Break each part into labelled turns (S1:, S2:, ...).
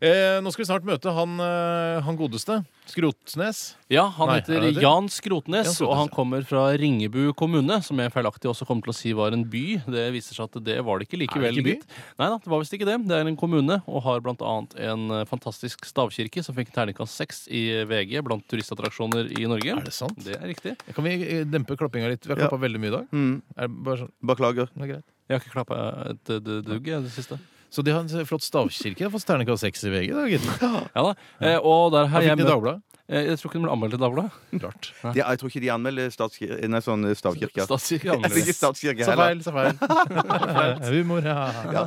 S1: Eh, nå skal vi snart møte han, eh, han godeste. Skrotnes.
S2: Ja, han
S1: Nei,
S2: heter
S1: er det det?
S2: Jan Skrotnes,
S1: Jan Skrotnes,
S2: og han
S1: ja.
S2: kommer fra Ringebu kommune, som jeg feilaktig også kommer til å si var en by. Det viser seg at det var det ikke
S1: Er
S2: likevel.
S1: det ikke by?
S2: gitt. Nei da, det var visst ikke det. Det er en kommune, og har blant annet en eh, fantastisk stavkirke som fikk terningkast seks i VG blant turistattraksjoner i Norge.
S1: Er det sant?
S2: Det er riktig.
S1: Kan vi eh, dempe klappinga litt? Vi har
S3: Ja.
S1: klappa veldig mye i dag.
S3: Mm.
S1: Er det bare sånn,
S3: Beklager.
S1: det er greit.
S2: Jeg har ikke klappa et eh, d- dugg i det siste.
S1: Så de har en flott stavkirke. De har fått terningkast seks i VG. Da, gitt.
S2: Ja da. Eh, og der
S1: Da
S2: har
S1: fikk
S2: jeg
S1: de
S2: møtt
S1: Dagbladet.
S2: eh, Jeg tror ikke den ble anmeldt i Dagbladet.
S1: Rart.
S3: De, jeg tror ikke de anmelder statskir nei, sånn eh, stavkirker.
S2: Statskirke
S3: Jeg sier ikke
S2: annerledes.
S3: statskirke
S1: Sa
S3: heller.
S1: feil, sa feil. Humor, ja.
S3: Ja.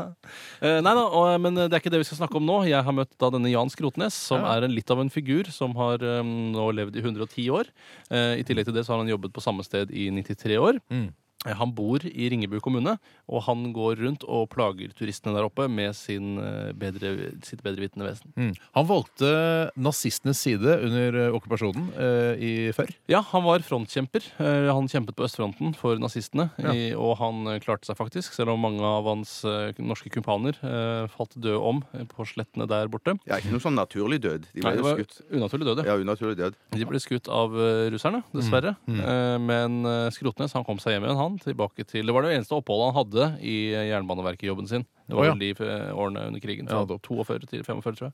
S2: Eh, nei da, og, men det er ikke det vi skal snakke om nå. Jeg har møtt da denne Jan Skrotnes, som
S1: Ja.
S2: er en, litt av en figur som har eh, nå levd i 110 år. Eh, I tillegg til det så har han jobbet på samme sted i 93 år.
S1: Mm.
S2: Eh, Han bor i Ringebu kommune, og han går rundt og plager turistene der oppe med sin eh, bedre, sitt bedrevitende vesen.
S1: Mm. Han valgte nazistenes side under eh, okkupasjonen eh, i før.
S2: Ja, han var frontkjemper. Eh, Han kjempet på østfronten for nazistene, i, og han eh, klarte seg faktisk, selv om mange av hans eh, norske kumpaner eh, falt døde om eh, på slettene der borte.
S3: Ja, ikke noe sånn naturlig død. De
S2: Nei,
S3: ble
S2: det
S3: jo
S2: var
S3: skutt.
S2: unaturlig død, ja.
S3: Ja, unaturlig død.
S2: De ble skutt av eh, russerne, dessverre. Eh, Men eh, Skrotnes han kom seg hjem igjen. han tilbake til, Det var det eneste oppholdet han hadde i eh, Jernbaneverket-jobben sin. Det var
S1: Å, ja.
S2: vel de eh, årene under krigen.
S1: Ja,
S2: Fra
S1: da.
S2: 42 til 45, tror jeg.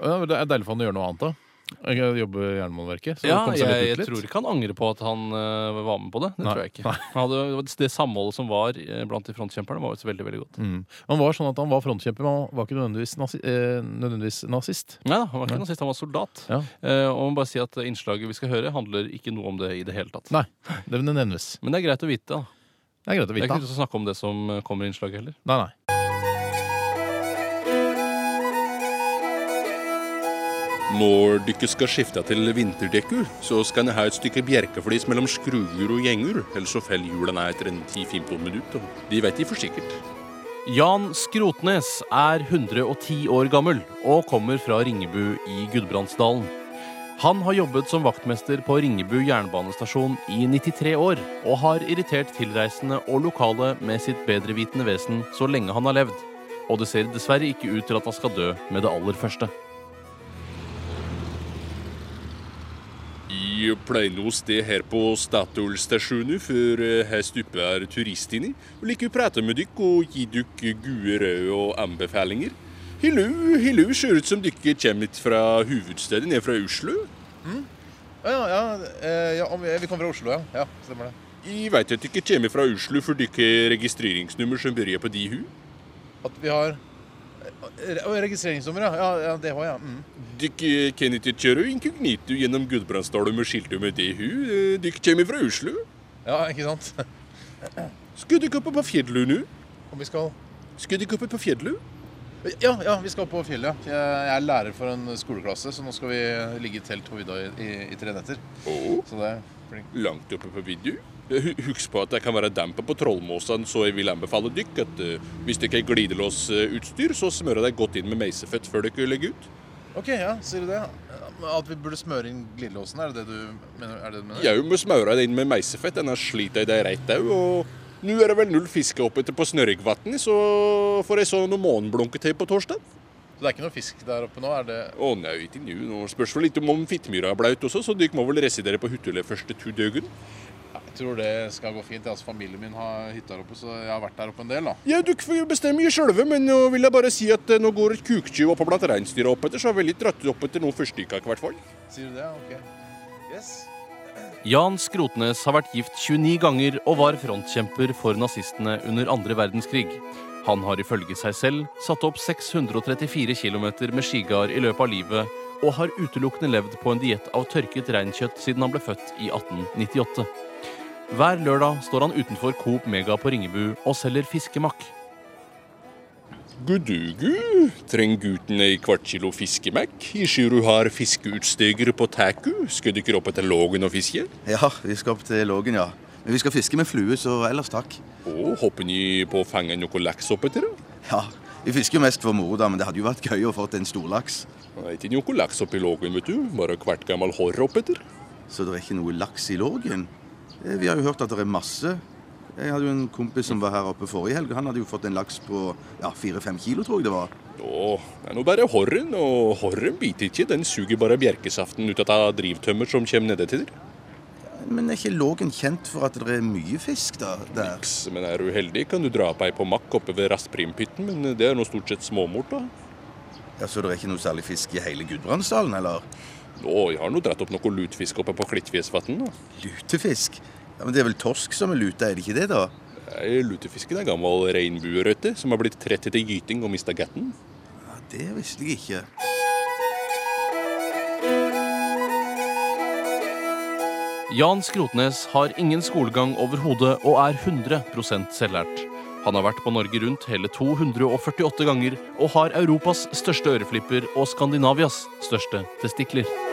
S1: Ja, men det er deilig for han å gjøre noe annet, da. Ikke Jobbe i Jernbaneverket. Så
S2: Ja,
S1: komme seg litt
S2: jeg,
S1: ut
S2: jeg
S1: litt.
S2: tror ikke han angrer på at han eh, var med på det. Det
S1: Nei.
S2: tror jeg ikke. Han hadde, det var- det samholdet som var eh, blant de frontkjemperne, var jo veldig veldig godt.
S1: Mm. Han var sånn at han var frontkjemper, men han var ikke nødvendigvis, nazi eh, nødvendigvis nazist.
S2: Nei da, han var ikke nazist, han var soldat.
S1: Ja.
S2: Eh, Og må bare si at Innslaget vi skal høre, handler ikke noe om det i det hele tatt.
S1: Nei, det vil nevnes.
S2: Men det er greit å vite. da.
S1: Det er greit å
S2: Det er
S1: vite.
S2: ikke noe å snakke om det som eh, kommer i innslaget heller.
S1: Nei, nei.
S4: Når dere skal skifte til vinterdekker, så skal dere ha et stykke bjerkeflis mellom skruer og gjenger, ellers så feller hjulene etter en 10-15 minutter. De vet de for sikkert.
S2: Jan Skrotnes er 110 år gammel og kommer fra Ringebu i Gudbrandsdalen. Han har jobbet som vaktmester på Ringebu jernbanestasjon i 93 år, og har irritert tilreisende og lokale med sitt bedrevitende vesen så lenge han har levd. Og det ser dessverre ikke ut til at han skal dø med det aller første.
S4: Jeg pleier å stå her på Statoil-stasjonen før eh, her stupper turistene. Og liker å prate med dere og gi dere gode råd og anbefalinger. Hello, hello, ser ut som dere kommer fra hovedstaden, er fra Oslo.
S1: Ja, ja, vi kommer fra Oslo, ja. ja. Stemmer det.
S4: Jeg vet at dere kommer fra Oslo, for dere har registreringsnummer som begynner på de hu.
S1: At vi har Registreringsnummeret, ja. ja. Mm. Det har jeg.
S4: Dere kan ikke kjøre inkognito gjennom Gudbrandsdalen med skiltet med det hu. Eh, Dere kommer fra Oslo.
S1: Ja, ikke sant?
S4: Skal dere opp på fjellet nå?
S1: Og vi skal
S4: Skal dere opp på fjellet?
S1: Ja, ja, vi skal på fjellet. ja. Jeg jeg er lærer for en skoleklasse, så nå skal vi ligge i telt på vidda i, i, i tre netter.
S4: Åh.
S1: Så det blir
S4: langt oppe på vidda. Hu- Husk på at det kan være damper på Trollmåsene, så jeg vil anbefale dykk at eh, hvis dere har glidelåsutstyr, eh, så smører dere godt inn med meiseføtt før dere legger ut.
S1: OK, ja, sier du det? At vi burde smøre inn glidelåsen, er det det du mener? Er det det du mener?
S4: Jeg må smøre det inn med meisefett, ellers sliter jeg det rett au. Og nå er det vel null fiske oppe til på Snørrigvatnet, så får jeg så noen måneblunker til på torsdag.
S1: Så det er ikke noe fisk der oppe nå? Er det
S4: Å nei, ikke nå. Nå spørs vel litt om om Fittmyra er blaut også, så dere må vel residere på Huttule første to døgn.
S1: Jeg tror det skal gå fint. Altså, familien min har hytte der oppe, så jeg har vært der oppe en del, da.
S4: Ja, dere får jo bestemme sjølve, men nå vil jeg bare si at eh, nå går et kuktyv opp blant reinsdyra oppetter, så jeg vil ikke dratt opp etter noen fyrstikker i hvert fall.
S1: Sier du det? OK. Yes.
S2: Jan Skrotnes har vært gift 29 ganger og var frontkjemper for nazistene under andre verdenskrig. Han har ifølge seg selv satt opp 634 km med skigard i løpet av livet, og har utelukkende levd på en diett av tørket reinkjøtt siden han ble født i 1898. Hver lørdag står han utenfor Coop Mega på Ringebu og selger fiskemakk.
S4: Gudugu, trenger gutten ei kvart kilo fiskemekk? Ikke du har fiskeutstyger på taku? Skal dere opp etter Lågen og fiske?
S3: Ja, vi skal opp til Lågen, ja. Men vi skal fiske med flue, så ellers takk.
S4: Og hopper ni på å fange noe laks oppetter?
S3: Ja, Vi fisker jo mest for moro, da, men det hadde jo vært gøy å få en storlaks.
S4: Det er ikke noe laks oppi Lågen, vet du. Bare hvert gammel hår oppetter.
S3: Så det er ikke noe laks i Lågen? Eh, Vi har jo hørt at det er masse. Jeg hadde jo en kompis som var her oppe forrige helg. og Han hadde jo fått en laks på ja, fire-fem kilo, tror jeg det var.
S4: Å, det er nå bare horren, og horren biter ikke. Den suger bare bjerkesaften ut av drivtømmer som kommer nede til der.
S3: Men er ikke Lågen kjent for at det er mye fisk da, der?
S4: Niks, men er du heldig, kan du dra på ei på makk oppe ved Rastprimpytten, men eh, det er nå stort sett småmort, da.
S3: Ja, Så det er ikke noe særlig fisk i hele Gudbrandsdalen, eller?
S4: Nå, jeg har nå dratt opp noe lutfisk oppe på Klittfjesvatn, da.
S3: Lutefisk? Ja, Men det er vel torsk som er lute, er det ikke det, da?
S4: Nei, Lutefisken er gammel regnbuerøtte som har blitt trett etter gyting og mista gatten.
S3: Ja, Det visste jeg ikke.
S2: Jan Skrotnes har ingen skolegang overhodet og er 100 selvlært. Han har vært på Norge Rundt hele 248 ganger og har Europas største øreflipper og Skandinavias største testikler.